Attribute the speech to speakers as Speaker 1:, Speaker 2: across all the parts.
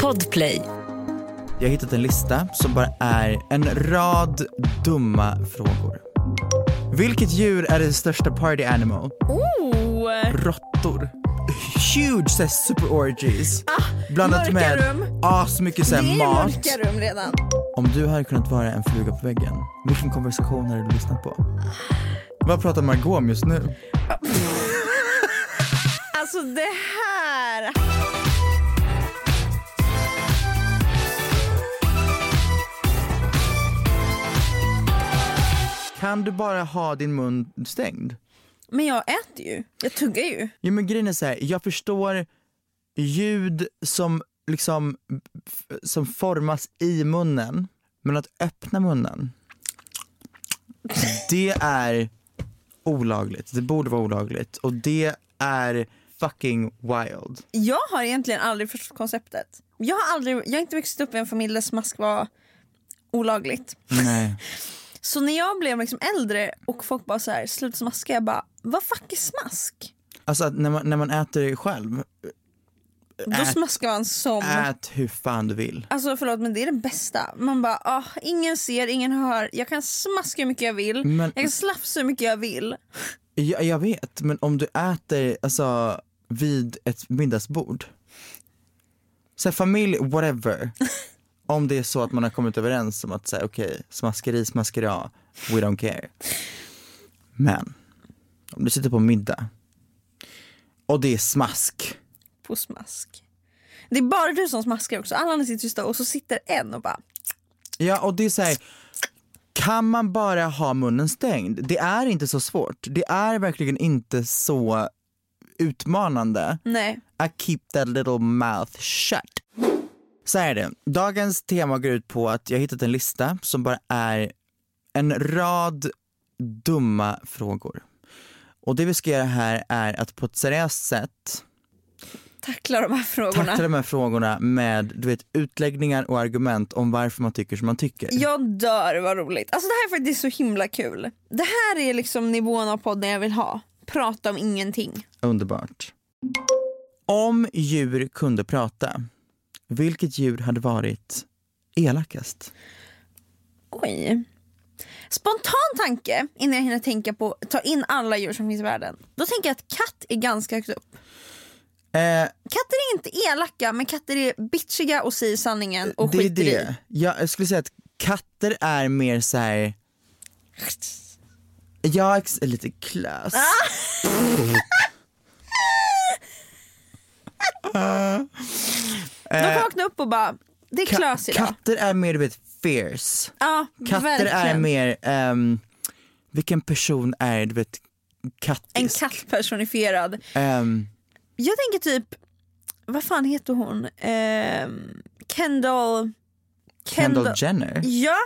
Speaker 1: Podplay.
Speaker 2: Jag har hittat en lista som bara är en rad dumma frågor. Vilket djur är det största party animal?
Speaker 1: Oh,
Speaker 2: Råttor. Huge såhär, super orgies. blandat
Speaker 1: Ah, mörka
Speaker 2: med
Speaker 1: rum.
Speaker 2: asmycket så
Speaker 1: det är
Speaker 2: här
Speaker 1: ju
Speaker 2: mat.
Speaker 1: mörka rum redan.
Speaker 2: Om du hade kunnat vara en fluga på väggen, vilken konversation hade du lyssnat på? Vad pratar Margot om just nu?
Speaker 1: Alltså det här.
Speaker 2: Kan du bara ha din mun stängd?
Speaker 1: Men jag äter ju. Jag tuggar ju.
Speaker 2: Jo men grejen är så här, jag förstår ljud som liksom f- som formas i munnen, men att öppna munnen, det är olagligt. Det borde vara olagligt och det är fucking wild.
Speaker 1: Jag har egentligen aldrig förstått konceptet. Jag har, aldrig, jag har inte vuxit upp i en familj där smask var olagligt.
Speaker 2: Nej.
Speaker 1: Så när jag blev liksom äldre och folk bara så här, slut smaska, jag bara, vad fuck är smask?
Speaker 2: Alltså att när man, när man äter själv,
Speaker 1: Då
Speaker 2: Ät.
Speaker 1: smaskar man som,
Speaker 2: ät hur fan du vill.
Speaker 1: alltså förlåt men det är det bästa. Man bara, ah, ingen ser, ingen hör, jag kan smaska hur mycket jag vill,
Speaker 2: Men-
Speaker 1: jag kan slafsa hur mycket jag vill.
Speaker 2: Jag, jag vet, men om du äter alltså, vid ett middagsbord, så här, familj, whatever. om det är så att man har kommit överens om att säga okej, smaskeri, smaskeri, ja, we don't care. Men, om du sitter på middag och det är smask.
Speaker 1: på smask. Det är bara du som smaskar också. Alla andra sitter tysta och så sitter en och bara
Speaker 2: Ja, och det är så här, kan man bara ha munnen stängd? Det är inte så svårt. Det är verkligen inte så utmanande.
Speaker 1: nej.
Speaker 2: I keep that little mouth shut. Så här är det. Dagens tema går ut på att jag har hittat en lista som bara är en rad dumma frågor. Och det vi ska göra här är att på ett seriöst sätt
Speaker 1: Tackla de här frågorna.
Speaker 2: tackla de här frågorna med du vet, utläggningar och argument om varför man tycker som man tycker.
Speaker 1: Jag dör vad roligt. Alltså det här är faktiskt så himla kul. Det här är liksom nivån av podden jag vill ha. Prata om ingenting.
Speaker 2: Underbart. Om djur kunde prata, vilket djur hade varit elakast?
Speaker 1: Oj. Spontan tanke innan jag hinner tänka på ta in alla djur som finns i världen. Då tänker jag att katt är ganska högt upp.
Speaker 2: Eh,
Speaker 1: Katter är inte elaka men katter är bitchiga och säger sanningen och
Speaker 2: det är
Speaker 1: skiter
Speaker 2: det. Jag, jag skulle säga att katter är mer så här. Ja, ex- lite klös.
Speaker 1: Ah, i. De kan vakna upp och bara det är
Speaker 2: Eh, Ka-
Speaker 1: klös idag.
Speaker 2: katter är mer du vet fierce.
Speaker 1: Ja,
Speaker 2: Katter
Speaker 1: verkligen.
Speaker 2: är mer, ehm, vilken person är du vet
Speaker 1: En
Speaker 2: kattisk?
Speaker 1: katt personifierad.
Speaker 2: Ehm,
Speaker 1: Jag tänker typ, vad fan heter hon? Ehm, Kendall...
Speaker 2: Kendall Jenner?
Speaker 1: Ja,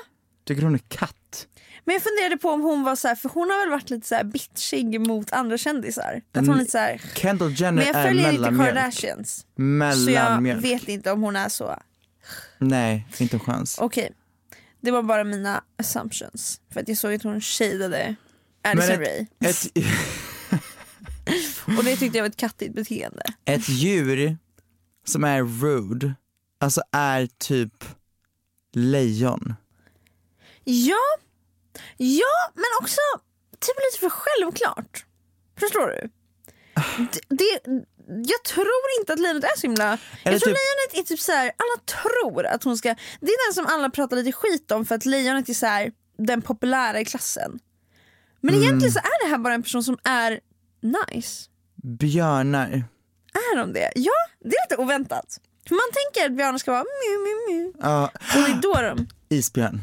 Speaker 2: Tycker hon är katt?
Speaker 1: Men jag funderade på om hon var så här, för hon har väl varit lite så här bitchig mot andra kändisar. Att hon är lite så här,
Speaker 2: Kendall Jenner
Speaker 1: men jag följer
Speaker 2: är
Speaker 1: inte
Speaker 2: mellanmjölk.
Speaker 1: Kardashians. Så jag
Speaker 2: Mellanmjölk.
Speaker 1: vet inte om hon är så.
Speaker 2: Nej, inte en chans.
Speaker 1: Okej, det var bara mina assumptions. För att jag såg att hon shadeade
Speaker 2: Men
Speaker 1: Addison Rae.
Speaker 2: ett, ett,
Speaker 1: Och det tyckte jag var ett kattigt beteende.
Speaker 2: ett djur som är rude, alltså är typ lejon.
Speaker 1: Ja, ja men också typ lite för självklart. Förstår du? Det, det, jag tror inte att lejonet är så himla...
Speaker 2: Eller
Speaker 1: jag tror
Speaker 2: typ-
Speaker 1: lejonet är typ så här, alla tror att hon ska... Det är den som alla pratar lite skit om för att lejonet är så här, den populära i klassen. Men
Speaker 2: Mm.
Speaker 1: egentligen så är det här bara en person som är nice.
Speaker 2: Björnar.
Speaker 1: Är de det? Ja, det är lite oväntat. För man tänker att björnar ska vara mu, mu, mu.
Speaker 2: Ja,
Speaker 1: Och det är då de...
Speaker 2: isbjörn.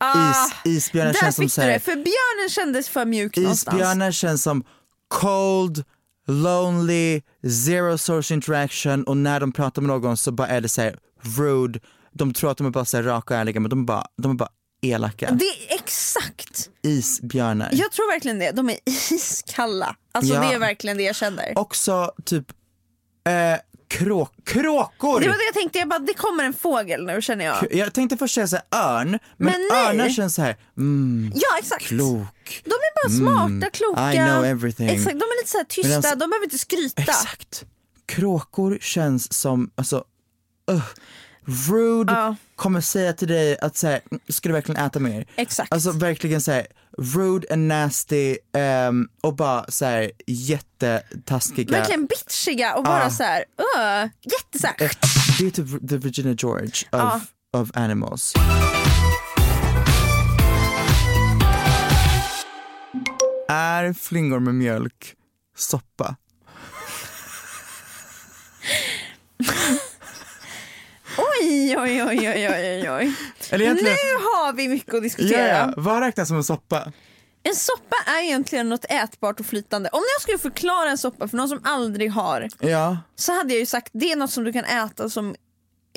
Speaker 1: Ah,
Speaker 2: Is, isbjörnar
Speaker 1: där
Speaker 2: känns som
Speaker 1: fick du
Speaker 2: så här-
Speaker 1: det, för björnen kändes för mjuk någonstans.
Speaker 2: Isbjörnar känns som cold, lonely, zero social interaction och när de pratar med någon så bara är det så här rude. De tror att de är bara så här raka och ärliga men de är bara, de är bara elaka.
Speaker 1: Det är exakt.
Speaker 2: Isbjörnar.
Speaker 1: Jag tror verkligen det. De är iskalla. Alltså
Speaker 2: Ja.
Speaker 1: det är verkligen det jag känner.
Speaker 2: Också typ eh, kråk, kråkor.
Speaker 1: Det var det jag tänkte. Jag bara, det kommer en fågel nu känner jag.
Speaker 2: Jag tänkte först säga så här örn, men,
Speaker 1: Men nej.
Speaker 2: örnar känns så här mm,
Speaker 1: Ja exakt.
Speaker 2: klok. Mm.
Speaker 1: De är bara smarta, kloka.
Speaker 2: I know everything.
Speaker 1: Exakt. De är lite så här tysta.
Speaker 2: Medans-
Speaker 1: De behöver inte skryta.
Speaker 2: Exakt. Kråkor känns som, alltså, ugh. rude,
Speaker 1: Ja.
Speaker 2: kommer säga till dig att såhär, ska du verkligen äta mer?
Speaker 1: Exakt.
Speaker 2: Alltså verkligen såhär, rude and nasty ehm, och bara såhär jättetaskiga.
Speaker 1: Verkligen bitchiga och
Speaker 2: Ah.
Speaker 1: bara så här. Uh, jätte så här.
Speaker 2: Det är typ the Virginia George of, of animals. Är flingor med mjölk soppa?
Speaker 1: Oj oj oj oj oj oj.
Speaker 2: Eller egentligen-
Speaker 1: Nu har vi mycket att
Speaker 2: Ja,
Speaker 1: diskutera.
Speaker 2: ja. vad räknas som en soppa?
Speaker 1: En soppa är egentligen något ätbart och flytande. Om jag skulle förklara en soppa för någon som aldrig har
Speaker 2: Ja.
Speaker 1: så hade jag ju sagt det är något som du kan äta som,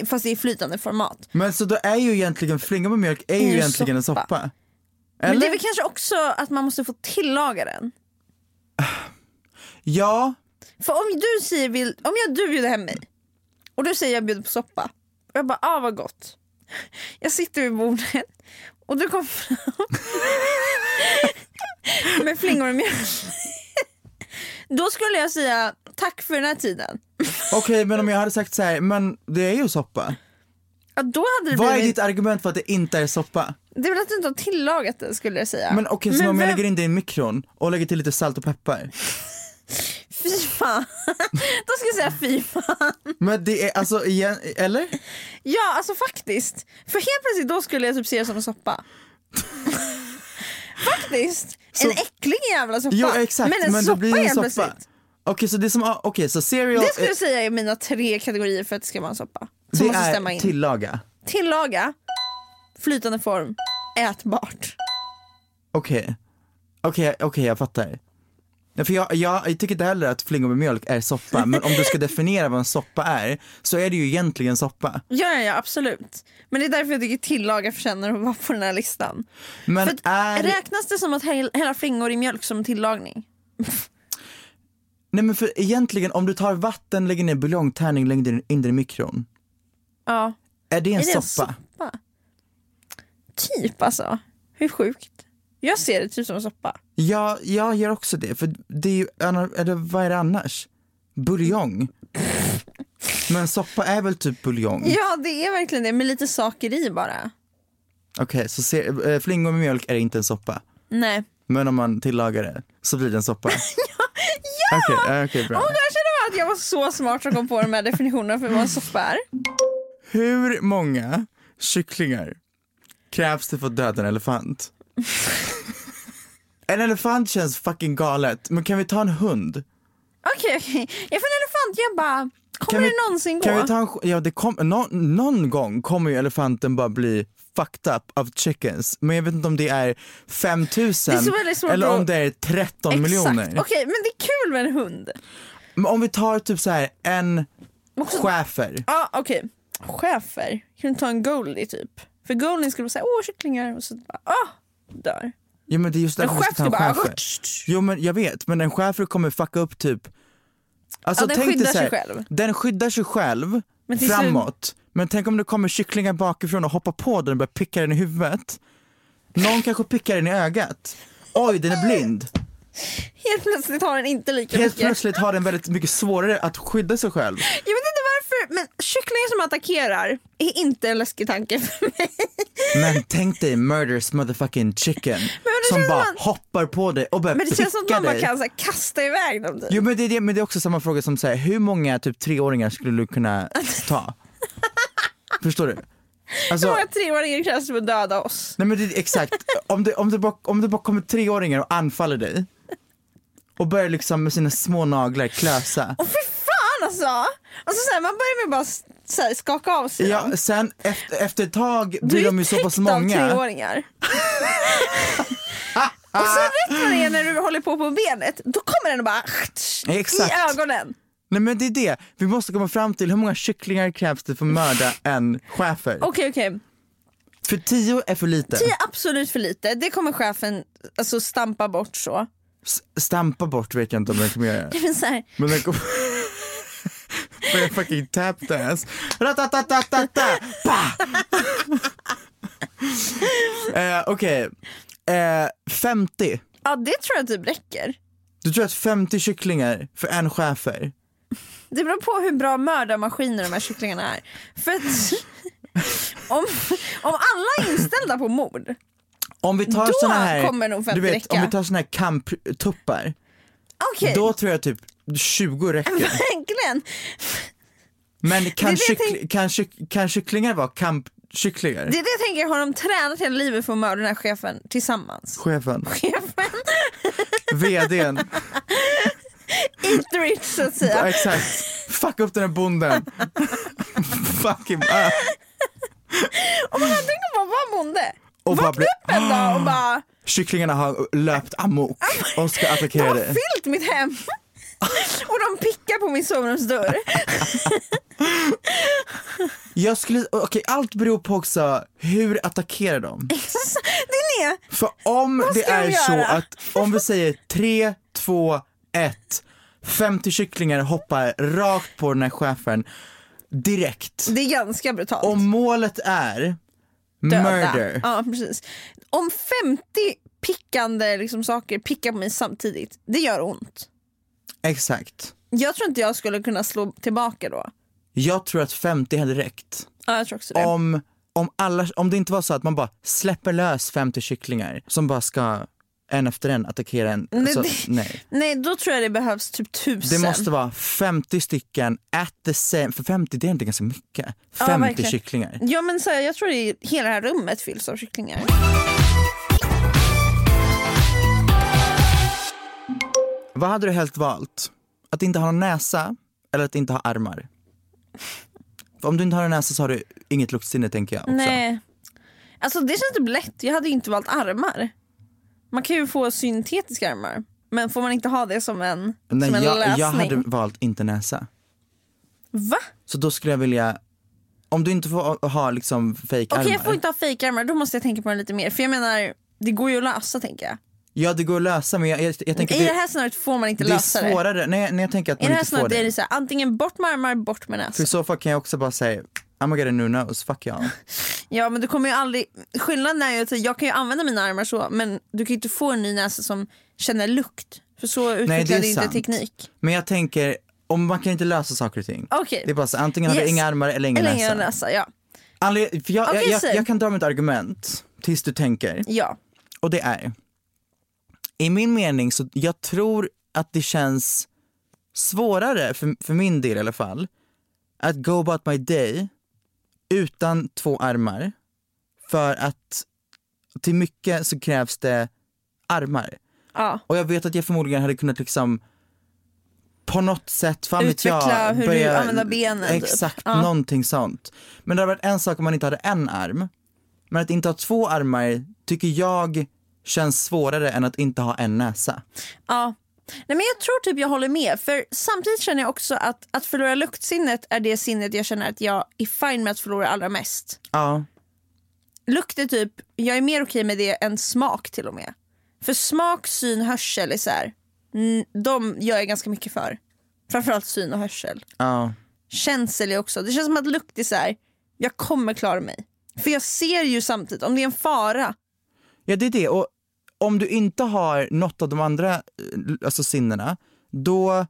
Speaker 1: fast i flytande format.
Speaker 2: Men så då är ju egentligen flingor med mjölk är ju
Speaker 1: ju
Speaker 2: egentligen en
Speaker 1: soppa.
Speaker 2: soppa.
Speaker 1: Men det
Speaker 2: Eller?
Speaker 1: är väl kanske också att man måste få tillaga den.
Speaker 2: Ja,
Speaker 1: För om du säger vill, om jag, du bjuder hem mig och du säger jag bjuder på soppa och jag bara ah vad gott. Jag sitter vid bordet och du kommer fram med flingor och mjölk. Då skulle jag säga tack för den här tiden.
Speaker 2: okej men om jag hade sagt så här, men det är ju soppa.
Speaker 1: Ja, då hade det
Speaker 2: Vad är
Speaker 1: blivit...
Speaker 2: ditt argument för att det inte är soppa?
Speaker 1: Det är väl att du inte har tillagat det skulle jag säga.
Speaker 2: Men okej, så om jag
Speaker 1: vem-
Speaker 2: lägger in det i mikron och lägger till lite salt och peppar.
Speaker 1: Fy fan. Då ska jag säga fy fan.
Speaker 2: Men det är alltså, igen, eller?
Speaker 1: Ja, alltså faktiskt. För helt plötsligt då skulle jag typ se det som en soppa. faktiskt. En äcklig jävla soppa.
Speaker 2: Jo exakt,
Speaker 1: men en
Speaker 2: men
Speaker 1: soppa
Speaker 2: då blir det
Speaker 1: helt
Speaker 2: en soppa.
Speaker 1: plötsligt.
Speaker 2: Okej så det är som, okej så cereal
Speaker 1: Det skulle
Speaker 2: eh,
Speaker 1: jag säga är mina tre kategorier för att det ska vara en soppa. Som
Speaker 2: det
Speaker 1: måste
Speaker 2: är
Speaker 1: stämma in.
Speaker 2: tillaga.
Speaker 1: Tillaga, flytande form, ätbart.
Speaker 2: Okej, okej, okej jag fattar. Nej, För jag, jag, jag tycker inte heller att flingor med mjölk är soppa, men om du ska definiera vad en soppa är så är det ju egentligen soppa.
Speaker 1: Ja, ja, ja, absolut. Men det är därför jag tycker tillaga förtjänar att vara på den här listan.
Speaker 2: Men
Speaker 1: För att,
Speaker 2: är...
Speaker 1: Räknas det som att häll- hälla flingor i mjölk som tillagning?
Speaker 2: Nej men för egentligen om du tar vatten, lägger ner buljongtärning, lägger in- in det i mikron.
Speaker 1: Ja.
Speaker 2: Är det en
Speaker 1: Är det en
Speaker 2: soppa?
Speaker 1: soppa? Typ alltså. Hur sjukt? Jag ser det typ som en soppa.
Speaker 2: Ja, jag gör också det. För det är ju, anna- eller vad är det annars? Buljong. men soppa är väl typ buljong?
Speaker 1: Ja det är verkligen det med lite saker i bara.
Speaker 2: Okej, så ser, eh, flingor med mjölk är inte en soppa.
Speaker 1: Nej.
Speaker 2: Men om man tillagar det så blir det en soppa. ja! Okej, okay, bra.
Speaker 1: Och där känner man att oh, jag var så smart som kom på de här definitionerna för vad en soppa är.
Speaker 2: Hur många kycklingar krävs det för att döda en elefant? en elefant känns fucking galet, men kan vi ta en hund?
Speaker 1: Okej okej. Jag får en elefant jag bara kommer
Speaker 2: kan vi,
Speaker 1: det någonsin gå?
Speaker 2: kan Vi ta en, sk- ja, det kom, nå- någon gång kommer ju elefanten bara bli fucked up av chickens. Men jag vet inte om det är 5000
Speaker 1: Det är så väldigt svårt
Speaker 2: eller om
Speaker 1: att-
Speaker 2: det är 13
Speaker 1: Exakt.
Speaker 2: miljoner.
Speaker 1: Okej men det är kul med en hund.
Speaker 2: Men om vi tar typ så här en schäfer.
Speaker 1: Ja okej. Schäfer. Kan du ta en Goldie typ? För Goldie skulle vara såhär åh kycklingar och så bara åh dör.
Speaker 2: Ja men det är just
Speaker 1: En
Speaker 2: därför vi
Speaker 1: chef ska
Speaker 2: ska ta
Speaker 1: bara...
Speaker 2: en chefer. Jo men jag vet, men en schäfer kommer fucka upp typ Alltså
Speaker 1: Ja, den
Speaker 2: tänk dig
Speaker 1: skyddar
Speaker 2: så här,
Speaker 1: sig själv.
Speaker 2: Den skyddar sig själv
Speaker 1: Men till slut-
Speaker 2: framåt. Men tänk om det kommer kycklingar bakifrån och hoppar på den och börjar picka den i huvudet. Någon kanske pickar den i ögat. Oj, den är blind.
Speaker 1: Helt plötsligt har den inte lika
Speaker 2: Helt
Speaker 1: mycket.
Speaker 2: plötsligt har den väldigt mycket svårare att skydda sig själv.
Speaker 1: Jag vet inte varför, men kycklingar som attackerar är inte en läskig tanke för mig.
Speaker 2: Men tänk dig murders motherfucking chicken som
Speaker 1: känns
Speaker 2: bara
Speaker 1: som att-
Speaker 2: hoppar på dig och börjar
Speaker 1: Men det
Speaker 2: pricka
Speaker 1: känns som att man bara
Speaker 2: dig.
Speaker 1: kan så här, kasta iväg dem. Typ.
Speaker 2: Jo men det, är det, men det är också samma fråga som säger hur många typ treåringar skulle du kunna ta? Förstår du? Alltså,
Speaker 1: Hur många treåringar krävs det för att döda oss?
Speaker 2: nej men det, är exakt, om det, om, det bara, om det bara kommer treåringar och anfaller dig och börjar liksom med sina små naglar klösa.
Speaker 1: Åh fy fan alltså! alltså så här, man börjar med att bara s- så här, skaka av sig
Speaker 2: Ja,
Speaker 1: dem.
Speaker 2: sen efter, efter ett tag
Speaker 1: Du
Speaker 2: blir
Speaker 1: är
Speaker 2: de ju så pass
Speaker 1: täckt av
Speaker 2: många.
Speaker 1: treåringar. och sen rätt vad det är när du håller på på benet, då kommer den och bara
Speaker 2: Exakt.
Speaker 1: i ögonen.
Speaker 2: Nej men det är det, vi måste komma fram till hur många kycklingar krävs det för att mörda en schäfer?
Speaker 1: Okej okej,
Speaker 2: För tio är för lite.
Speaker 1: det är absolut för lite. Det kommer chefen alltså, stampa bort så.
Speaker 2: S- Stampa bort vet jag inte om den kommer göra.
Speaker 1: Men så här,
Speaker 2: Men den kom... Börjar fucking tap dance. Ratatatatata! Pa! eh, Okej. Eh, 50.
Speaker 1: ja det tror jag typ räcker.
Speaker 2: Du tror att 50 kycklingar för en schäfer?
Speaker 1: Det beror på hur bra mördarmaskiner de här kycklingarna är. För att om, om alla är inställda på mord,
Speaker 2: Om vi tar
Speaker 1: Då
Speaker 2: såna här,
Speaker 1: kommer nog 50
Speaker 2: du vet,
Speaker 1: räcka.
Speaker 2: om vi tar såna här kamptuppar,
Speaker 1: okej,
Speaker 2: då tror jag typ 20 räcker.
Speaker 1: verkligen.
Speaker 2: Men kan,
Speaker 1: jag
Speaker 2: kyckli-
Speaker 1: tänk-
Speaker 2: kan, kyck- kan kycklingar vara kampkycklingar?
Speaker 1: Det är det jag tänker, har de tränat hela livet för att mörda den här chefen tillsammans?
Speaker 2: Chefen,
Speaker 1: Chefen,
Speaker 2: vdn,
Speaker 1: inte rich så att
Speaker 2: ja,
Speaker 1: säga.
Speaker 2: exakt. Fuck upp den här bonden. Fucking ah. up.
Speaker 1: Tänk om man var bonde.
Speaker 2: Och bara
Speaker 1: Vakna
Speaker 2: bli-
Speaker 1: upp en dag och bara,
Speaker 2: Kycklingarna har löpt amok och ska
Speaker 1: de
Speaker 2: attackera
Speaker 1: har
Speaker 2: dig.
Speaker 1: fyllt mitt hem. Och de pickar på min sovrumsdörr.
Speaker 2: Jag skulle, okej allt beror på också hur attackerar de?
Speaker 1: Det är
Speaker 2: För om det
Speaker 1: ska de
Speaker 2: är så
Speaker 1: göra?
Speaker 2: att, om vi säger 3, 2, 1, 50 kycklingar hoppar rakt på den här chefen direkt.
Speaker 1: Det är ganska brutalt.
Speaker 2: Om målet är
Speaker 1: döda.
Speaker 2: murder,
Speaker 1: Ja, precis. Om 50 pickande liksom, saker pickar på mig samtidigt, det gör ont.
Speaker 2: exakt.
Speaker 1: Jag tror inte jag skulle kunna slå tillbaka då.
Speaker 2: Jag tror att 50 hade räckt.
Speaker 1: Ja, jag tror också det.
Speaker 2: om, om, alla, om det inte var så att man bara släpper lös 50 kycklingar som bara ska en efter en attackera en. Alltså,
Speaker 1: det-
Speaker 2: nej.
Speaker 1: Nej, då tror jag det behövs typ
Speaker 2: Det
Speaker 1: tusen.
Speaker 2: måste vara 50 stycken at the same, för 50 det är inte ganska mycket.
Speaker 1: Ja,
Speaker 2: 50
Speaker 1: verkligen.
Speaker 2: kycklingar.
Speaker 1: Ja, men så här, jag tror det är, hela det här rummet fylls av kycklingar.
Speaker 2: Vad hade du helst valt? Att inte ha någon näsa eller att inte ha armar? För om du inte har en näsa så har du inget luktsinne tänker jag också.
Speaker 1: Nej. Alltså det känns typ lätt. Jag hade ju inte valt armar. Man kan ju få syntetiska armar. Men får man inte ha det som en,
Speaker 2: Nej
Speaker 1: som en
Speaker 2: jag,
Speaker 1: lösning?
Speaker 2: jag hade valt inte näsa.
Speaker 1: Va?
Speaker 2: Så då skulle jag vilja, om du inte får ha liksom fake
Speaker 1: Okej
Speaker 2: armar.
Speaker 1: jag får inte ha fejkarmar, då måste jag tänka på det lite mer. För jag menar, det går ju att lösa tänker jag.
Speaker 2: Ja det går att lösa men jag, jag, jag tänker
Speaker 1: I
Speaker 2: det,
Speaker 1: det här scenariot får man inte
Speaker 2: det är
Speaker 1: lösa det.
Speaker 2: svårare. Nej, nej jag tänker att
Speaker 1: I
Speaker 2: man
Speaker 1: det här
Speaker 2: inte får
Speaker 1: scenariot
Speaker 2: det.
Speaker 1: är det så här, antingen bort med armar, bort med
Speaker 2: För
Speaker 1: näsa.
Speaker 2: i så fall kan jag också bara säga I'm gonna get a new nose, fuck y'all.
Speaker 1: Ja men du kommer ju aldrig, skillnaden är ju att jag kan ju använda mina armar så men du kan ju inte få en ny näsa som känner lukt. För så
Speaker 2: Nej det är
Speaker 1: utvecklar du inte
Speaker 2: sant.
Speaker 1: teknik.
Speaker 2: Men jag tänker, om man kan inte lösa saker och ting.
Speaker 1: Okej.
Speaker 2: Det är bara så, antingen har
Speaker 1: Yes.
Speaker 2: du inga armar eller ingen
Speaker 1: Eller
Speaker 2: näsa.
Speaker 1: ingen näsa, ja.
Speaker 2: Anled- för jag,
Speaker 1: Okej,
Speaker 2: jag, jag,
Speaker 1: säg.
Speaker 2: jag kan dra mitt argument tills du tänker.
Speaker 1: ja.
Speaker 2: Och det är, i min mening så jag tror att det känns svårare, för, för min del i alla fall, att go about my day utan två armar. För att till mycket så krävs det armar.
Speaker 1: Ja.
Speaker 2: Och jag vet att jag förmodligen hade kunnat liksom på något sätt, fan vet
Speaker 1: Utveckla
Speaker 2: jag,
Speaker 1: hur du använder benen, typ.
Speaker 2: Exakt, någonting sånt. Men det hade varit en sak om man inte hade en arm. Men att inte ha två armar tycker jag känns svårare än att inte ha en näsa.
Speaker 1: Ja. Nej, men jag tror typ jag håller med. För Samtidigt känner jag också att att förlora luktsinnet är det sinnet jag känner att jag är fine med att förlora allra mest.
Speaker 2: Ja,
Speaker 1: Lukt är typ, jag är mer okej med det än smak till och med. För smak, syn, hörsel är så här, mm, de gör jag ganska mycket för. Framförallt syn och hörsel.
Speaker 2: Ja.
Speaker 1: Känsel är också, det känns som att lukt är så här, jag kommer klara mig. För jag ser ju samtidigt, om det är en fara,
Speaker 2: ja, det är det. Och om du inte har något av de andra eh, alltså sinnena, då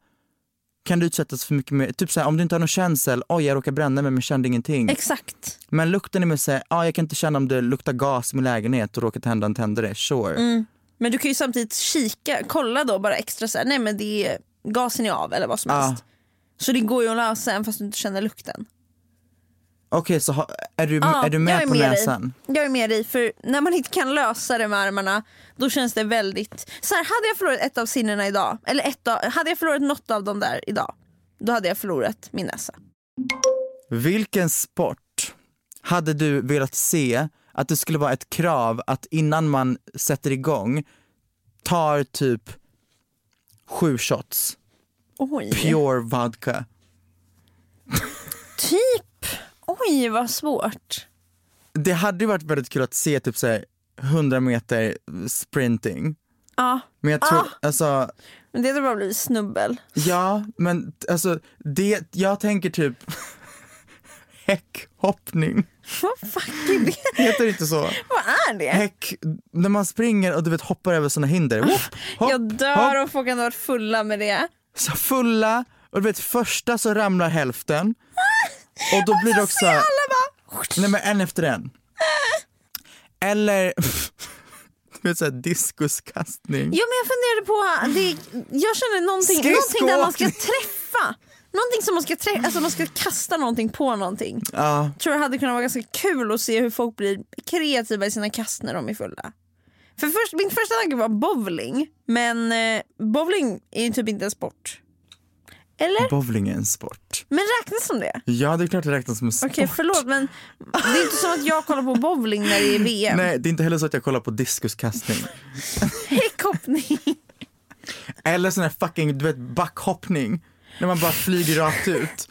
Speaker 2: kan du utsättas för mycket mer, typ såhär om du inte har någon känsel, oj jag råkar bränna mig men kände ingenting.
Speaker 1: exakt.
Speaker 2: men lukten är mer såhär, ja "Ah, jag kan inte känna om det luktar gas i min lägenhet och råkar tända en tändare, sure.
Speaker 1: Mm, Men du kan ju samtidigt kika, kolla då bara extra så här, nej men det är, gasen är av eller vad som
Speaker 2: Ja.
Speaker 1: helst. Så det går ju att lösa även fast du inte känner lukten.
Speaker 2: Okej så ha, är, du,
Speaker 1: Ja,
Speaker 2: är du med
Speaker 1: Ah, jag är
Speaker 2: på
Speaker 1: med
Speaker 2: näsan?
Speaker 1: Dig. Jag är med dig, för när man inte kan lösa det med armarna då känns det väldigt... Så här, hade jag förlorat ett av sinnena idag, eller ett av, hade jag förlorat något av dem där idag, då hade jag förlorat min näsa.
Speaker 2: Vilken sport hade du velat se att det skulle vara ett krav att innan man sätter igång tar typ sju shots
Speaker 1: Oj.
Speaker 2: pure vodka?
Speaker 1: Typ, oj vad svårt.
Speaker 2: Det hade ju varit väldigt kul att se typ såhär 100 meter sprinting.
Speaker 1: Ja,
Speaker 2: Men jag tror, alltså,
Speaker 1: men det hade bara blivit snubbel.
Speaker 2: ja men t- alltså det, jag tänker typ häckhoppning.
Speaker 1: Vad fuck är det?
Speaker 2: Heter det inte så?
Speaker 1: Vad är det?
Speaker 2: Häck, när man springer och du vet hoppar över sådana hinder. Whoop, hopp,
Speaker 1: Ah, Jag
Speaker 2: hopp.
Speaker 1: dör om folk hade varit fulla med det.
Speaker 2: så fulla och du vet första så ramlar hälften och då blir det
Speaker 1: Alltså,
Speaker 2: också nej men en efter en eller du vet såhär diskuskastning
Speaker 1: Jo men jag funderade på, det, jag känner någonting, någonting där man ska
Speaker 2: Skridskoåkning.
Speaker 1: träffa. Någonting som man ska träffa, alltså man ska kasta någonting på någonting.
Speaker 2: ja
Speaker 1: tror det hade kunnat vara ganska kul att se hur folk blir kreativa i sina kast när de är fulla. För först, min första tanke var bowling, men eh, bowling är ju typ inte en sport. Eller?
Speaker 2: bowling är en sport
Speaker 1: Men räknas som det?
Speaker 2: ja det är klart det räknas som en sport
Speaker 1: Okej förlåt men det är inte som att jag kollar på bowling när det är VM.
Speaker 2: nej det är inte heller så att jag kollar på diskuskastning
Speaker 1: Häckhoppning.
Speaker 2: eller sån här fucking du vet backhoppning när man bara flyger rakt ut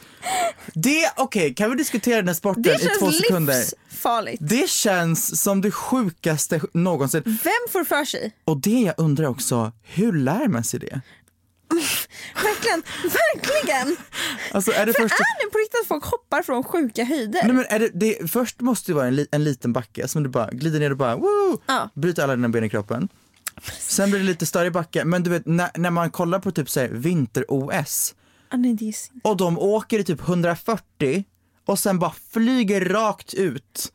Speaker 2: det okej kan vi diskutera den här sporten
Speaker 1: Det
Speaker 2: i två
Speaker 1: känns
Speaker 2: sekunder
Speaker 1: livsfarligt.
Speaker 2: det känns som det sjukaste någonsin
Speaker 1: Vem får för sig?
Speaker 2: Och det jag undrar också, hur lär man sig det?
Speaker 1: Verkligen, verkligen!
Speaker 2: Alltså är det
Speaker 1: För
Speaker 2: först...
Speaker 1: är det på riktigt att folk hoppar från sjuka höjder?
Speaker 2: Nej men är det, det, först måste det vara en, li, en liten backe som du bara glider ner och bara woo!
Speaker 1: Ja.
Speaker 2: Bryter alla dina ben i kroppen. Sen blir det lite större backe, men du vet när, när man kollar på typ såhär vinter-OS
Speaker 1: ah, nej, det är sin-
Speaker 2: och de åker i typ 140 och sen bara flyger rakt ut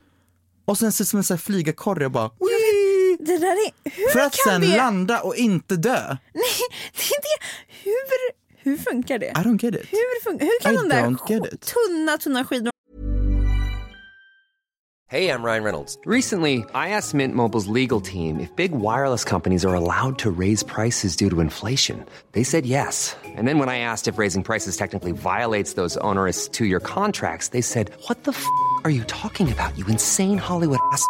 Speaker 2: och sen ser det som en sån här flygarkorre och bara wee!
Speaker 1: det där är, hur
Speaker 2: För att
Speaker 1: kan
Speaker 2: sen
Speaker 1: det?
Speaker 2: landa och inte dö.
Speaker 1: Nej, det är det. Hur, hur funkar det?
Speaker 2: I don't get it.
Speaker 1: Hur, funkar, hur kan
Speaker 2: I
Speaker 1: de där
Speaker 2: don't get it.
Speaker 1: tunna, tunna skidorna
Speaker 3: Hey, I'm Ryan Reynolds. Recently, I asked Mint Mobile's legal team if big wireless companies are allowed to raise prices due to inflation. They said yes. And then when I asked if raising prices technically violates those onerous two year contracts, they said, What the f are you talking about, you insane Hollywood ass? f-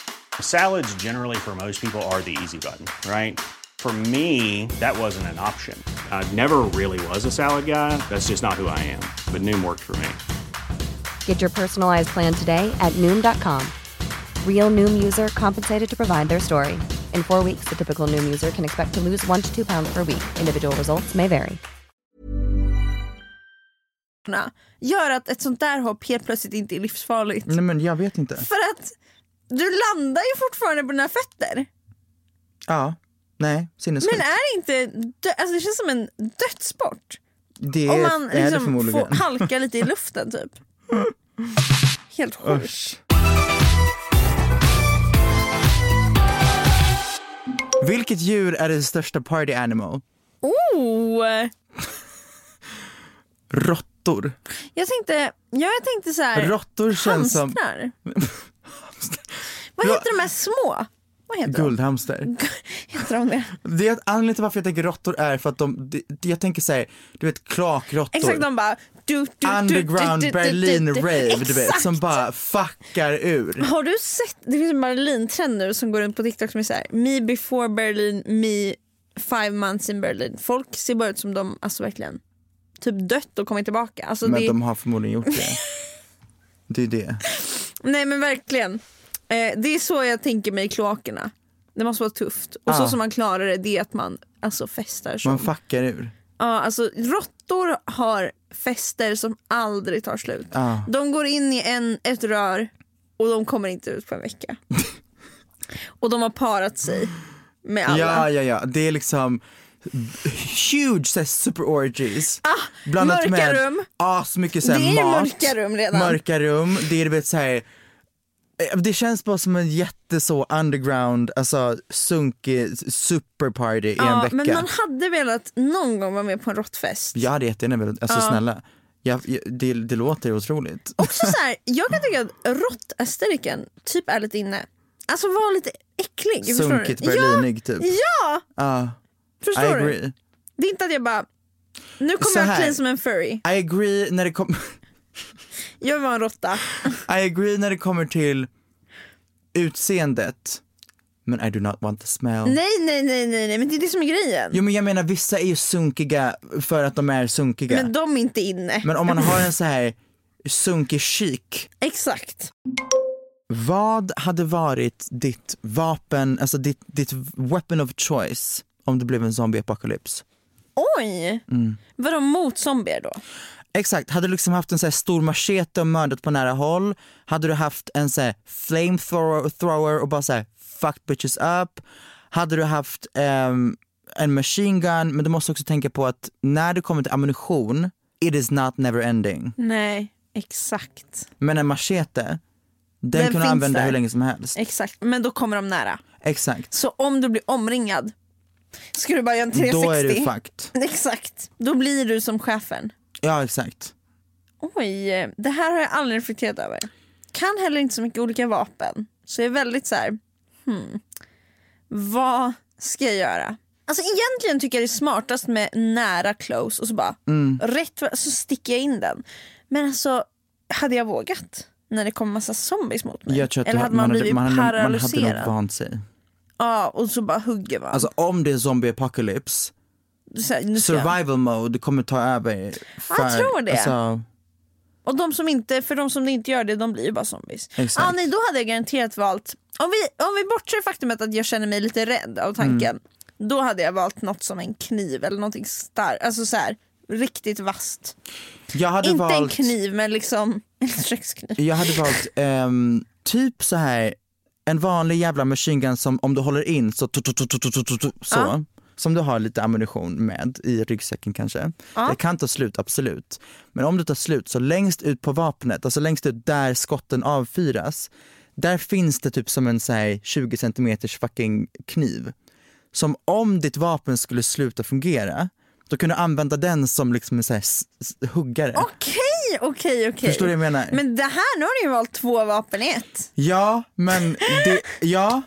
Speaker 4: Salads, generally, for most people, are the easy button, right? For me, that wasn't an option. I never really was a salad guy. That's just not who I am. But Noom worked for me.
Speaker 5: Get your personalized plan today at Noom.com. Real Noom user compensated to provide their story. In four weeks, the typical Noom user can expect to lose one to two pounds per week. Individual results may vary.
Speaker 1: gör att ett sånt där hopp helt plötsligt inte är livsfarligt.
Speaker 2: Nej men jag vet inte.
Speaker 1: För att du landar ju fortfarande på dina fötter.
Speaker 2: Ja, nej, sinnessjukt.
Speaker 1: Men är det inte, dö- alltså det känns som en dödssport.
Speaker 2: Det
Speaker 1: Om
Speaker 2: är,
Speaker 1: man
Speaker 2: är det
Speaker 1: liksom
Speaker 2: förmodligen.
Speaker 1: får halka lite i luften typ. Helt sjukt.
Speaker 2: Usch. Vilket djur är det största party animal?
Speaker 1: Oh!
Speaker 2: Råttor.
Speaker 1: Jag tänkte, ja, jag tänkte så här.
Speaker 2: Råttor känns som
Speaker 1: Äh, hamstrar. Vad
Speaker 2: Ja.
Speaker 1: heter de här små? Vad heter de?
Speaker 2: guldhamster.
Speaker 1: Heter de det?
Speaker 2: Det är att anledningen till varför jag tänker råttor är för att de, det- jag tänker såhär, du vet klakråttor.
Speaker 1: Exakt, de bara... Du, du, du,
Speaker 2: Underground
Speaker 1: du, du, du,
Speaker 2: Berlin
Speaker 1: du, du.
Speaker 2: rave du vet,
Speaker 1: Exakt.
Speaker 2: som bara fuckar ur.
Speaker 1: Har du sett, det finns en Berlin-trend nu som går runt på TikTok som är såhär me before Berlin, me five months in Berlin. Folk ser bara ut som de, alltså verkligen, typ dött och kommit tillbaka. Alltså
Speaker 2: Men
Speaker 1: det,
Speaker 2: de har förmodligen gjort det. Det är det.
Speaker 1: Nej men verkligen. Eh, det är så jag tänker mig kloakerna. Det måste vara tufft. Och så
Speaker 2: Ah.
Speaker 1: som man klarar det, det är att man alltså festar. Som,
Speaker 2: Man fuckar ur.
Speaker 1: ja, alltså, råttor har fester som aldrig tar slut. De går in i en, ett rör och de kommer inte ut på en vecka. och de har parat sig med alla.
Speaker 2: Ja, ja, ja. Det är liksom huge så här, super orgies. Ah,
Speaker 1: mörka rum.
Speaker 2: Asmycket så
Speaker 1: Det är ju
Speaker 2: här, mat.
Speaker 1: mörka rum redan.
Speaker 2: Mörka rum. Det är du vet så här. eh, Det känns bara som en jätte så underground, alltså sunkig superparty i en
Speaker 1: Ja,
Speaker 2: vecka.
Speaker 1: men man hade velat någon gång vara med på en råttfest.
Speaker 2: Jag hade jättegärna velat, alltså snälla. Jag, jag, det, det låter otroligt.
Speaker 1: Också så här, jag kan tycka att råttesteriken typ är lite inne. Alltså var lite äcklig. förstår du?
Speaker 2: Sunkigt berlinig typ.
Speaker 1: Ja,
Speaker 2: Ja, I
Speaker 1: förstår du?
Speaker 2: agree.
Speaker 1: Det är inte att jag bara, nu
Speaker 2: Så
Speaker 1: kommer jag
Speaker 2: här.
Speaker 1: clean som en furry.
Speaker 2: I agree när det kommer
Speaker 1: Jag vill vara en råtta.
Speaker 2: I agree när det kommer till utseendet. Men I do not want the smell.
Speaker 1: Nej, nej, nej, nej, nej, men det är det som är grejen.
Speaker 2: Jo men jag menar vissa är ju sunkiga för att de är sunkiga.
Speaker 1: Men de är inte inne.
Speaker 2: Men om man har en så här sunkig chic.
Speaker 1: Exakt.
Speaker 2: Vad hade varit ditt vapen, alltså ditt, ditt weapon of choice om det blev en zombieapokalyps?
Speaker 1: Oj!
Speaker 2: Mm.
Speaker 1: Vadå mot zombier då?
Speaker 2: Exakt, hade du liksom haft en så här stor machete och mördat på nära håll? Hade du haft en så här flamethrower thrower och bara så här fucked bitches up? Hade du haft ehm, en machine gun? Men du måste också tänka på att när det kommer till ammunition, it is not never ending.
Speaker 1: Nej, exakt.
Speaker 2: Men en machete, den,
Speaker 1: Den
Speaker 2: kan du
Speaker 1: finns
Speaker 2: använda
Speaker 1: där.
Speaker 2: hur länge som helst.
Speaker 1: Exakt, men då kommer de nära.
Speaker 2: Exakt.
Speaker 1: Så om du blir omringad ska du bara göra en 360.
Speaker 2: Då är du fucked.
Speaker 1: Exakt, då blir du som chefen.
Speaker 2: Ja exakt.
Speaker 1: Oj, det här har jag aldrig reflekterat över. Kan heller inte så mycket olika vapen. Så jag är väldigt så här, hmm, vad ska jag göra? Alltså egentligen tycker jag det är smartast med nära close och så bara
Speaker 2: Mm.
Speaker 1: rätt va- så sticker jag in den. Men alltså hade jag vågat när det kom massa zombies mot mig?
Speaker 2: Jag tror att
Speaker 1: Eller
Speaker 2: du-
Speaker 1: hade man, blivit
Speaker 2: man, hade, man hade nog
Speaker 1: paralyserad?
Speaker 2: vant sig.
Speaker 1: ja, och så bara hugger man.
Speaker 2: Alltså om det är zombie apocalypse
Speaker 1: så här, nu ska jag-
Speaker 2: survival mode kommer ta över. För,
Speaker 1: jag tror det.
Speaker 2: Alltså,
Speaker 1: Och de som inte, för de som inte gör det, de blir ju bara zombies.
Speaker 2: Exakt.
Speaker 1: Ah, nej, då hade jag garanterat valt, om vi, om vi bortser faktumet att jag känner mig lite rädd av tanken,
Speaker 2: Mm.
Speaker 1: då hade jag valt något som en kniv eller någonting starkt, alltså så här, riktigt vasst.
Speaker 2: jag hade
Speaker 1: Inte en
Speaker 2: valt,
Speaker 1: kniv men liksom en kökskniv.
Speaker 2: Jag hade valt ehm, typ så här en vanlig jävla machine gun som om du håller in så, tu- tu- tu- tu- tu- tu- tu- tu- så som du har lite ammunition med i ryggsäcken kanske. Det kan ta slut absolut. Men om det tar slut så längst ut på vapnet, alltså längst ut där skotten avfyras, där finns det typ som en så här 20 centimeters fucking kniv. Som om ditt vapen skulle sluta fungera, då kunde du använda den som liksom en så här s- s- huggare.
Speaker 1: Okej, okej, okej.
Speaker 2: Förstår du vad jag menar?
Speaker 1: Men det här, nu har ni ju valt två vapen i ett.
Speaker 2: Ja, men det, ja,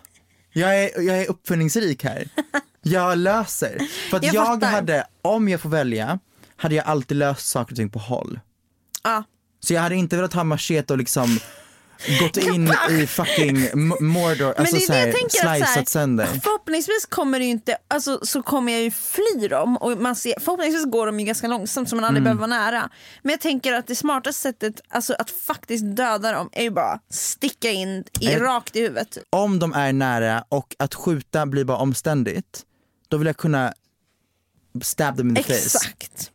Speaker 2: jag är, jag är uppfinningsrik här. Jag löser. För att
Speaker 1: Jag
Speaker 2: jag,
Speaker 1: fattar.
Speaker 2: hade, om jag får välja, hade jag alltid löst saker och ting på håll.
Speaker 1: Ja.
Speaker 2: Så jag hade inte velat ha machete och liksom gått in i fucking M- Mordor,
Speaker 1: Men det
Speaker 2: alltså
Speaker 1: är det
Speaker 2: såhär,
Speaker 1: jag tänker att så här,
Speaker 2: slicat sönder.
Speaker 1: förhoppningsvis kommer det ju inte, alltså, så kommer jag ju fly dem och man ser, förhoppningsvis går de ju ganska långsamt så man aldrig
Speaker 2: Mm.
Speaker 1: behöver vara nära. Men jag tänker att det smartaste sättet alltså, att faktiskt döda dem är ju bara sticka in i,
Speaker 2: Nej.
Speaker 1: rakt i huvudet. typ.
Speaker 2: Om de är nära och att skjuta blir bara omständigt, då vill jag kunna stab them in the face.
Speaker 1: Exakt.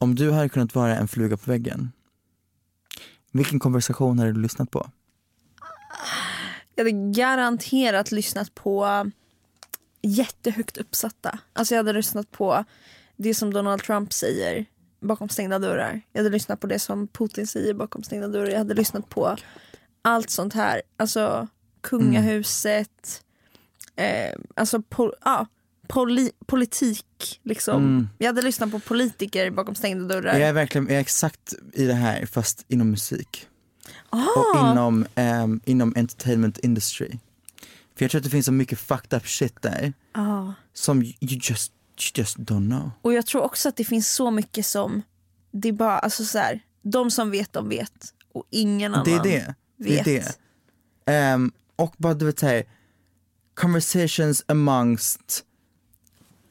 Speaker 2: Om du hade kunnat vara en fluga på väggen, vilken konversation hade du lyssnat på?
Speaker 1: Jag hade garanterat lyssnat på jättehögt uppsatta. Alltså jag hade lyssnat på det som Donald Trump säger bakom stängda dörrar. Jag hade lyssnat på det som Putin säger bakom stängda dörrar. Jag hade lyssnat på allt sånt här. Alltså kungahuset, eh, alltså po- ja, poli- politik liksom. Jag hade lyssnat på politiker bakom stängda dörrar.
Speaker 2: Jag är verkligen jag är exakt i det här fast inom musik. Och
Speaker 1: ah,
Speaker 2: inom, ehm, inom entertainment industry. För jag tror att det finns så mycket fucked up shit där
Speaker 1: ah.
Speaker 2: som you you just, you just don't know.
Speaker 1: Och jag tror också att det finns så mycket som, det är bara, alltså så här, de som vet de vet och ingen annan
Speaker 2: Det är det.
Speaker 1: vet.
Speaker 2: Det är det. Ehm, och bara du vet såhär, conversations amongst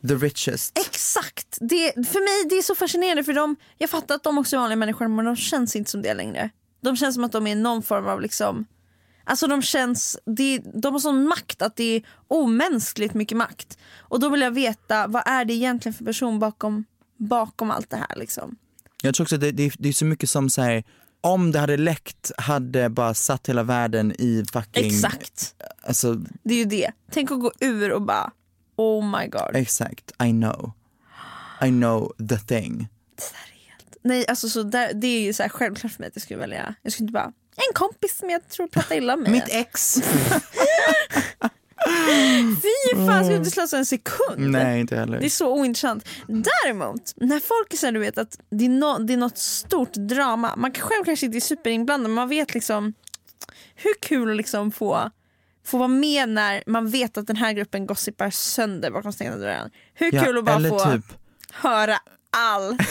Speaker 2: the richest.
Speaker 1: Exakt! Det, för mig det är så fascinerande för de, jag fattar att de också är vanliga människor men de känns inte som det längre. De känns som att de är någon form av liksom, alltså de känns, det, de har sån makt att det är omänskligt mycket makt. Och då vill jag veta vad är det egentligen för person bakom, bakom allt det här liksom.
Speaker 2: Jag tror också att det, det, det är så mycket som såhär, om det hade läckt hade bara satt hela världen i fucking,
Speaker 1: Exakt,
Speaker 2: alltså
Speaker 1: det är ju det. Tänk att gå ur och bara oh my god.
Speaker 2: exakt, I know. I know the thing.
Speaker 1: Nej, alltså så där, det är ju så här självklart för mig att jag skulle välja. Jag skulle inte bara, en kompis som jag tror pratar illa om mig.
Speaker 2: Mitt ex.
Speaker 1: Fy fan, skulle inte slösa en sekund.
Speaker 2: Mm. Nej inte heller.
Speaker 1: Det är så ointressant. Däremot, när folk är så här, du vet att det är, nå det är något stort drama. Man kan själv kanske inte är superinblandad men man vet liksom hur kul att liksom få, få vara med när man vet att den här gruppen gossipar sönder bakom stängda dörrar. Hur
Speaker 2: Ja,
Speaker 1: kul att bara
Speaker 2: eller
Speaker 1: få
Speaker 2: typ,
Speaker 1: höra allt.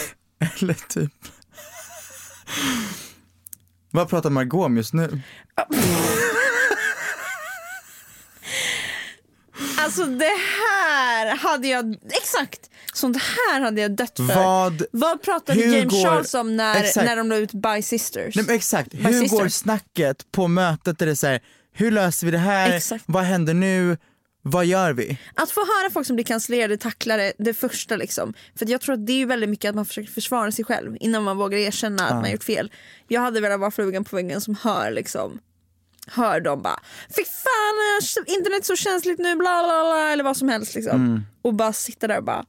Speaker 2: eller typ. Vad pratar Margot om just nu?
Speaker 1: Alltså det här hade jag, exakt! Sånt här hade jag dött för.
Speaker 2: Vad-
Speaker 1: Vad pratade
Speaker 2: hur
Speaker 1: James
Speaker 2: går-
Speaker 1: Charles om när,
Speaker 2: Exakt.
Speaker 1: när de la ut By Sisters?
Speaker 2: Nej, men exakt,
Speaker 1: My
Speaker 2: hur
Speaker 1: sister.
Speaker 2: går snacket på mötet där det är så här, hur löser vi det här,
Speaker 1: Exakt.
Speaker 2: vad händer nu, vad gör vi?
Speaker 1: Att få höra folk som blir cancellerade tackla det, det första liksom. För att jag tror att det är ju väldigt mycket att man försöker försvara sig själv innan man vågar erkänna att man gjort fel. Jag hade velat vara frugan på väggen som hör liksom hör dem bara fy fan eh, internet är så känsligt nu bla bla bla eller vad som helst liksom. Och bara sitta där och bara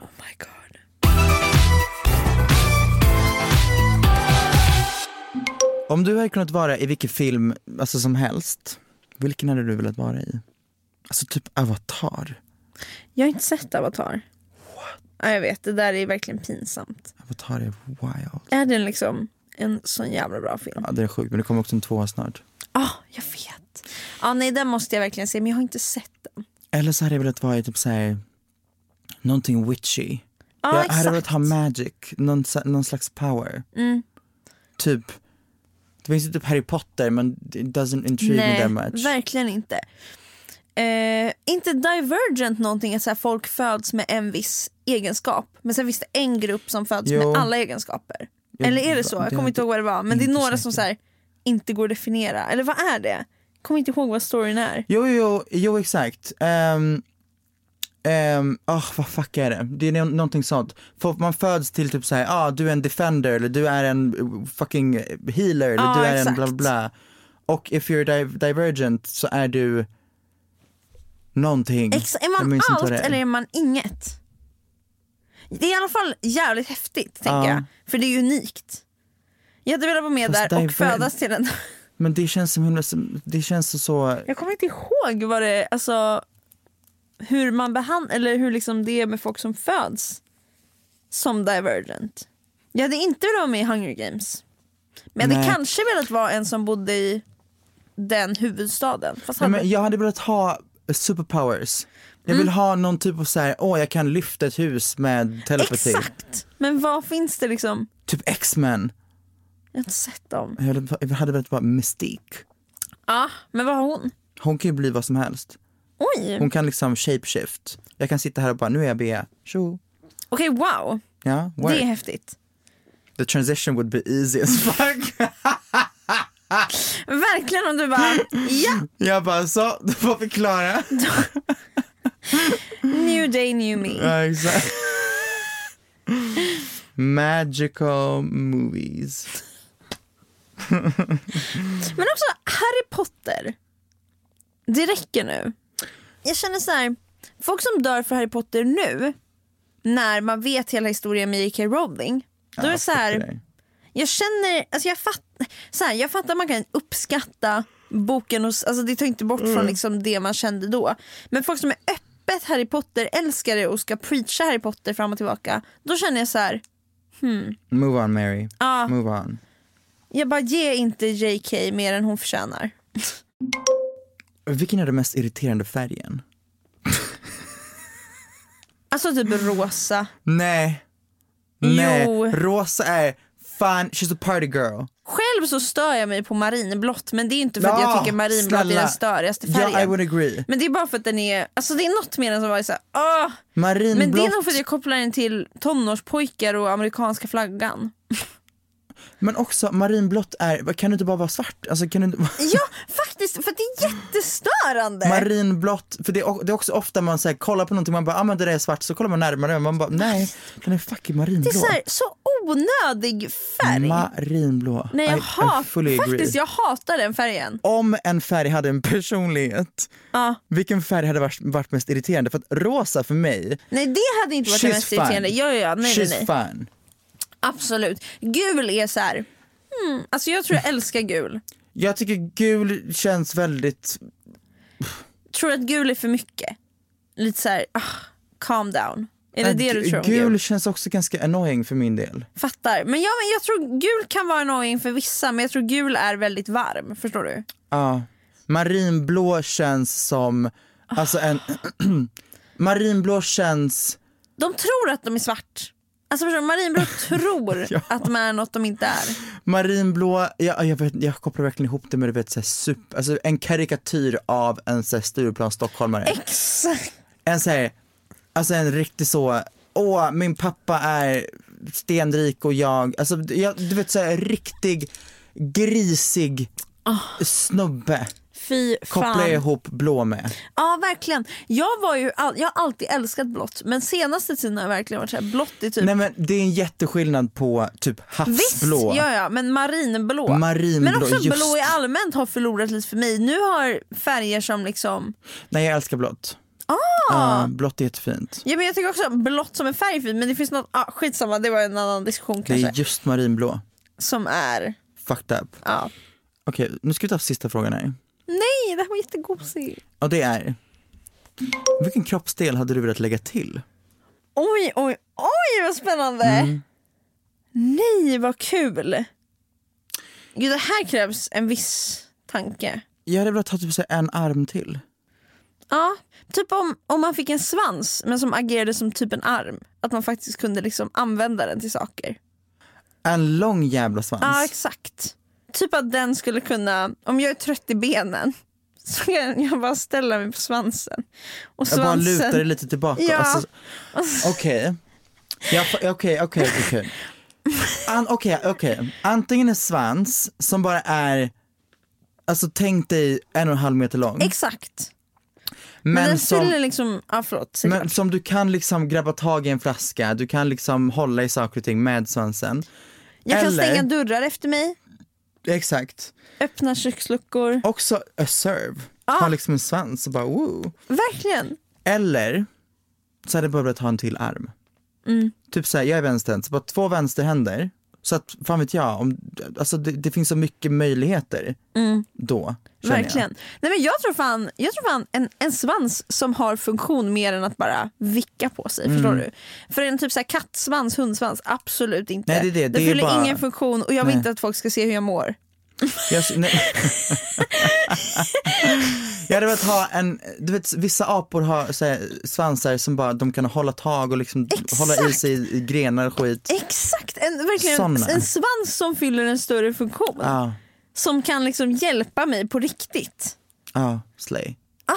Speaker 1: oh my god.
Speaker 2: Om du hade kunnat vara i vilken film alltså som helst, vilken hade du velat vara i? Alltså typ Avatar.
Speaker 1: Jag har inte sett Avatar. Ja, jag vet, det där är verkligen pinsamt.
Speaker 2: Avatar är wild.
Speaker 1: Är den liksom en sån jävla bra film?
Speaker 2: Ja det är sjukt men det kommer också en tvåa snart.
Speaker 1: Ja, Ah, jag vet. Ja, nej, den måste jag verkligen se, men jag har inte sett den.
Speaker 2: Eller så hade jag velat vara i typ såhär, någonting witchy.
Speaker 1: Ja,
Speaker 2: jag
Speaker 1: Ah, exakt. Mm.
Speaker 2: hade velat ha magic, någon, sa- någon slags power. Typ, det finns ju typ Harry Potter men it doesn't intrigue me
Speaker 1: Nej,
Speaker 2: that much.
Speaker 1: verkligen inte. Eh, inte divergent någonting att så här, folk föds med en viss egenskap, men sen finns det en grupp som föds
Speaker 2: Jo.
Speaker 1: med alla egenskaper.
Speaker 2: Jag-
Speaker 1: Eller är det så?
Speaker 2: det
Speaker 1: Jag kommer
Speaker 2: är
Speaker 1: inte ihåg vad det var, men det är
Speaker 2: inte
Speaker 1: några som så
Speaker 2: säker.
Speaker 1: här, inte går att definiera. Eller vad är det? Kommer inte ihåg vad storyn är.
Speaker 2: Jo, jo, jo, jo exakt. Um, um, vad fuck är det? Det är nå- någonting sånt. Folk, man föds till typ såhär, ah du är en defender eller du är en eh, fucking healer eller
Speaker 1: Ja,
Speaker 2: du är
Speaker 1: Ah, exakt.
Speaker 2: en bla bla. Och if you're div- divergent så är du någonting.
Speaker 1: Ex- är
Speaker 2: Mm. Jag
Speaker 1: man
Speaker 2: minns inte
Speaker 1: allt
Speaker 2: vad det är.
Speaker 1: eller är man inget? Det är i alla fall jävligt häftigt, tänker
Speaker 2: Ja.
Speaker 1: jag. För det är unikt. Jag hade velat vara med
Speaker 2: Fast
Speaker 1: där
Speaker 2: diver-
Speaker 1: och födas till en...
Speaker 2: Men det känns som himla, som- det känns så, så
Speaker 1: Jag kommer inte ihåg vad det alltså hur man behandlar eller hur liksom det är med folk som föds som divergent. Jag hade inte velat vara med i Hunger Games. Men jag hade
Speaker 2: Nej.
Speaker 1: kanske velat vara en som bodde i den huvudstaden. Fast
Speaker 2: Nej,
Speaker 1: hade...
Speaker 2: men jag hade velat ha superpowers. Jag
Speaker 1: Mm.
Speaker 2: vill ha någon typ av såhär, åh jag kan lyfta ett hus med telepati.
Speaker 1: Exakt! Men vad finns det liksom?
Speaker 2: Typ X-Men.
Speaker 1: Jag har inte sett dem.
Speaker 2: Jag hade- jag hade velat vara mystik.
Speaker 1: Ja, men vad har hon?
Speaker 2: Hon kan ju bli vad som helst.
Speaker 1: Oj!
Speaker 2: Hon kan liksom shapeshift. Jag kan sitta här och bara, nu är jag Bea. Tjo.
Speaker 1: Okej, wow.
Speaker 2: Ja,
Speaker 1: Det är
Speaker 2: work.
Speaker 1: häftigt.
Speaker 2: The transition would be easy as fuck.
Speaker 1: Verkligen om du bara, ja,
Speaker 2: jag bara, så, du får förklara.
Speaker 1: new day, new me.
Speaker 2: ja, exakt. Magical movies.
Speaker 1: Men också Harry Potter. Det räcker nu. Jag känner så här, folk som dör för Harry Potter nu, när man vet hela historien med J.K. Rowling. Då är det så här, jag känner, alltså jag, fatt, så här, jag fattar att man kan uppskatta boken, och, s- alltså det tar inte bort
Speaker 2: Mm.
Speaker 1: från liksom det man kände då. Men folk som är öppet Harry Potter-älskare och ska preacha Harry Potter fram och tillbaka, då känner jag så här,
Speaker 2: Move on Mary,
Speaker 1: Ja.
Speaker 2: move on.
Speaker 1: jag bara ge inte J.K. mer än hon förtjänar.
Speaker 2: Vilken är den mest irriterande färgen?
Speaker 1: Alltså
Speaker 2: Mm.
Speaker 1: typ rosa.
Speaker 2: Nej.
Speaker 1: Jo.
Speaker 2: Nej. Rosa är fan, she's a party girl.
Speaker 1: Själv så stör jag mig på marinblått men det är inte för att jag
Speaker 2: Ja,
Speaker 1: tycker marinblått är den
Speaker 2: snälla.
Speaker 1: störigaste
Speaker 2: Ja,
Speaker 1: färgen.
Speaker 2: I would agree.
Speaker 1: Men det är bara för att den är, alltså det är något med den som bara är såhär, åh!
Speaker 2: Marinblått.
Speaker 1: Men det är nog för att jag kopplar den till tonårspojkar och amerikanska flaggan.
Speaker 2: Men också marinblått är, kan du inte bara vara svart? Alltså kan du inte
Speaker 1: Ja faktiskt, för att det är jättestörande!
Speaker 2: Marinblått, för det är, det är också ofta man säger kollar på någonting man bara, ah men det där är svart, så kollar man närmare och man bara, nej den är fucking marinblå.
Speaker 1: det är så, här, så onödig färg.
Speaker 2: Marinblå.
Speaker 1: Nej jag,
Speaker 2: I, I
Speaker 1: hat,
Speaker 2: fully agree.
Speaker 1: faktiskt, jag hatar den färgen.
Speaker 2: Om en färg hade en personlighet,
Speaker 1: Ja.
Speaker 2: vilken färg hade varit, varit mest irriterande? För att rosa för mig,
Speaker 1: Nej det hade inte varit det
Speaker 2: she's
Speaker 1: mest
Speaker 2: fine.
Speaker 1: irriterande. Ja, ja, ja, nej,
Speaker 2: she's
Speaker 1: nej, nej.
Speaker 2: fine.
Speaker 1: Absolut. Gul är så här. Hmm, alltså jag tror jag älskar gul.
Speaker 2: Jag tycker gul känns väldigt,
Speaker 1: Tror du att gul är för mycket? Lite så här, ah, calm down. Är det
Speaker 2: äh,
Speaker 1: det du
Speaker 2: gu-
Speaker 1: tror om
Speaker 2: gul,
Speaker 1: gul?
Speaker 2: känns också ganska annoying för min del.
Speaker 1: Fattar. Men, ja, men jag tror gul kan vara annoying för vissa men jag tror gul är väldigt varm. Förstår du?
Speaker 2: Ja. Marinblå känns som, alltså en,
Speaker 1: Ah.
Speaker 2: marinblå känns
Speaker 1: De tror att de är svart. Alltså förstår du? Marinblå tror att de är något de inte är.
Speaker 2: Marinblå, jag, jag, vet, jag kopplar verkligen ihop det med du vet, så här, super, alltså, en karikatyr av en så här, Stureplan stockholmare.
Speaker 1: Exakt.
Speaker 2: En så här, alltså en riktig så, åh min pappa är stenrik och jag, alltså d- jag, du vet så här, riktig grisig snubbe
Speaker 1: Fy Ah. fan.
Speaker 2: kopplar jag ihop blå med.
Speaker 1: Ja verkligen. Jag, var ju all- jag har alltid älskat blått men senaste tiden har jag verkligen varit så här, blått är typ
Speaker 2: Nej men det är en jätteskillnad på typ
Speaker 1: Visst,
Speaker 2: havsblå.
Speaker 1: ja, ja, men marinblå.
Speaker 2: Marinblå,
Speaker 1: men också
Speaker 2: just
Speaker 1: blå i
Speaker 2: det.
Speaker 1: allmänt har förlorat lite för mig. Nu har färger som liksom,
Speaker 2: Nej jag älskar blått.
Speaker 1: Ah!
Speaker 2: Ja, blått är jättefint.
Speaker 1: ja men jag tycker också blått som en färg är fint, men det finns något, ah, skitsamma det var en annan diskussion
Speaker 2: Det
Speaker 1: kanske.
Speaker 2: är just marinblå.
Speaker 1: Som är,
Speaker 2: Fucked up.
Speaker 1: ja.
Speaker 2: Okej, nu ska vi ta sista frågan här.
Speaker 1: Nej det här var jättegosigt.
Speaker 2: Och det är, vilken kroppsdel hade du velat lägga till?
Speaker 1: Oj oj oj vad spännande.
Speaker 2: Mm.
Speaker 1: Nej vad kul. Gud det här krävs en viss tanke.
Speaker 2: Jag hade velat ha typ så här en arm till.
Speaker 1: Ja, typ om, om man fick en svans men som agerade som typ en arm. Att man faktiskt kunde liksom använda den till saker.
Speaker 2: En lång jävla
Speaker 1: Ja,
Speaker 2: svans.
Speaker 1: exakt. Typ att den skulle kunna, om jag är trött i benen så kan jag bara ställa mig på svansen. Och
Speaker 2: jag bara
Speaker 1: svansen,
Speaker 2: lutar det lite tillbaka.
Speaker 1: Ja.
Speaker 2: Alltså, Okej. Jag fa- Okej, okej, okej. An- Okej, okej. Antingen en svans som bara är, alltså tänk dig en och en halv meter lång.
Speaker 1: Exakt. Men,
Speaker 2: men
Speaker 1: den
Speaker 2: som,
Speaker 1: fyller liksom, ja förlåt. säg
Speaker 2: men
Speaker 1: klart.
Speaker 2: som du kan liksom grabba tag i en flaska, du kan liksom hålla i saker och ting med svansen.
Speaker 1: jag kan
Speaker 2: eller-
Speaker 1: stänga dörrar efter mig,
Speaker 2: Exakt.
Speaker 1: öppna köksluckor.
Speaker 2: också a serve.
Speaker 1: Ah.
Speaker 2: Ha liksom en svans och bara woo.
Speaker 1: Verkligen.
Speaker 2: Eller så hade jag bara velat ha en till arm.
Speaker 1: Mm.
Speaker 2: Typ såhär, jag är vänsterhänt, så bara två vänsterhänder. Så att fan vet jag, om, alltså det, det finns så mycket möjligheter då. känner
Speaker 1: Mm. Verkligen. Nej, men jag tror fan, jag tror fan en, en svans som har funktion mer än att bara vicka på sig.
Speaker 2: Mm.
Speaker 1: Förstår du? För en typ så här kattsvans, hundsvans, absolut inte.
Speaker 2: Nej, det är det. Det är
Speaker 1: fyller
Speaker 2: bara-
Speaker 1: ingen funktion och jag vill
Speaker 2: Nej.
Speaker 1: inte att folk ska se hur jag mår.
Speaker 2: Jag, jag, nej. jag hade velat ha en, du vet vissa apor har så här, svansar som bara de kan hålla tag och liksom
Speaker 1: Exakt.
Speaker 2: hålla i sig i, i grenar och skit.
Speaker 1: Exakt, en, verkligen en,
Speaker 2: Såna.
Speaker 1: en svans som fyller en större funktion.
Speaker 2: Ja,
Speaker 1: Som kan liksom hjälpa mig på riktigt.
Speaker 2: ja, slay.
Speaker 1: Ah,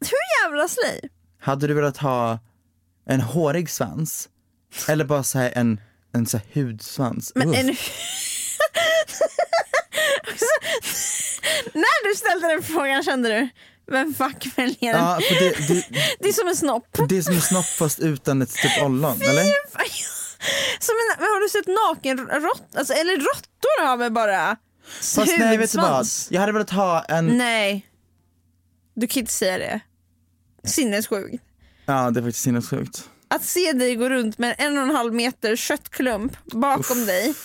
Speaker 1: hur, hur jävla slay?
Speaker 2: Hade du velat ha en hårig svans? Eller bara så här en, en så här hudsvans?
Speaker 1: Men
Speaker 2: Uff.
Speaker 1: en... Alltså, när du ställde den frågan kände du, vem fuck väljer den?
Speaker 2: Ja, för det, det,
Speaker 1: Det är som en snopp.
Speaker 2: det är som en snopp fast utan ett typ ollon, eller?
Speaker 1: Som en, men har du sett nakenråttor? Alltså, eller råttor har väl bara
Speaker 2: Fast nej, vet du vad?
Speaker 1: huvudsvans?
Speaker 2: Jag hade velat ha en,
Speaker 1: Nej. Du kan inte säga det. Sinnessjukt.
Speaker 2: ja det är faktiskt sinnessjukt.
Speaker 1: Att se dig gå runt med en och en halv meter köttklump bakom dig.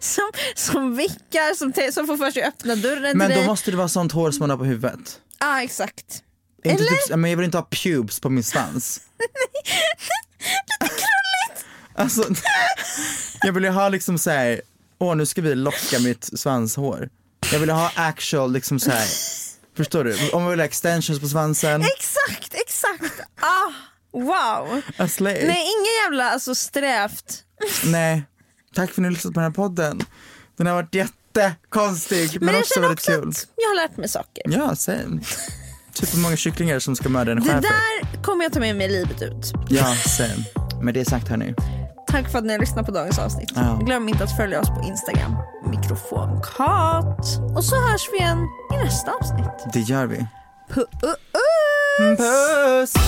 Speaker 1: Som, som vickar, som, te- som får för sig att öppna dörren
Speaker 2: Men
Speaker 1: till
Speaker 2: då
Speaker 1: dig.
Speaker 2: måste det vara sånt hår som man har på huvudet.
Speaker 1: Ja, Ah, exakt.
Speaker 2: Inte typ, men jag vill inte ha pubes på min svans. Lite krulligt. Alltså, jag vill ju ha liksom så här. åh nu ska vi locka mitt svanshår. Jag vill ha actual liksom så här. förstår du? Om man vill ha extensions på svansen,
Speaker 1: Exakt, exakt. Ah, wow.
Speaker 2: a slay.
Speaker 1: Nej, ingen jävla alltså, strävt.
Speaker 2: Nej. Tack för att ni har lyssnat på den här podden. Den har varit jättekonstig men,
Speaker 1: Men jag
Speaker 2: också
Speaker 1: känner
Speaker 2: väldigt
Speaker 1: också
Speaker 2: kul.
Speaker 1: att jag har lärt mig saker.
Speaker 2: Ja, same. Typ hur många kycklingar som ska mörda en
Speaker 1: Det
Speaker 2: schäfer.
Speaker 1: där kommer jag ta med mig livet ut.
Speaker 2: Ja, same. Med det sagt hörni.
Speaker 1: Tack för att ni har lyssnat på dagens avsnitt.
Speaker 2: Ja.
Speaker 1: Glöm inte att följa oss på Instagram, mikrofonkat. Och så hörs vi igen i nästa avsnitt. uh,
Speaker 2: Det gör vi. Mm,
Speaker 1: Puss!
Speaker 2: Puss!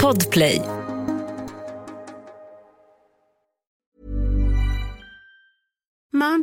Speaker 6: Podplay.
Speaker 7: Mom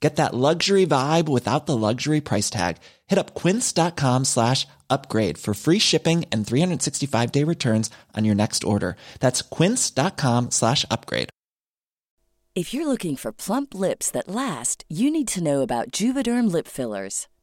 Speaker 8: Get that luxury vibe without the luxury price tag. Hit up quince.com slash upgrade for free shipping and 365 day returns on your next order. That's quince.com slash upgrade.
Speaker 6: If you're looking for plump lips that last, you need to know about Juvederm lip fillers.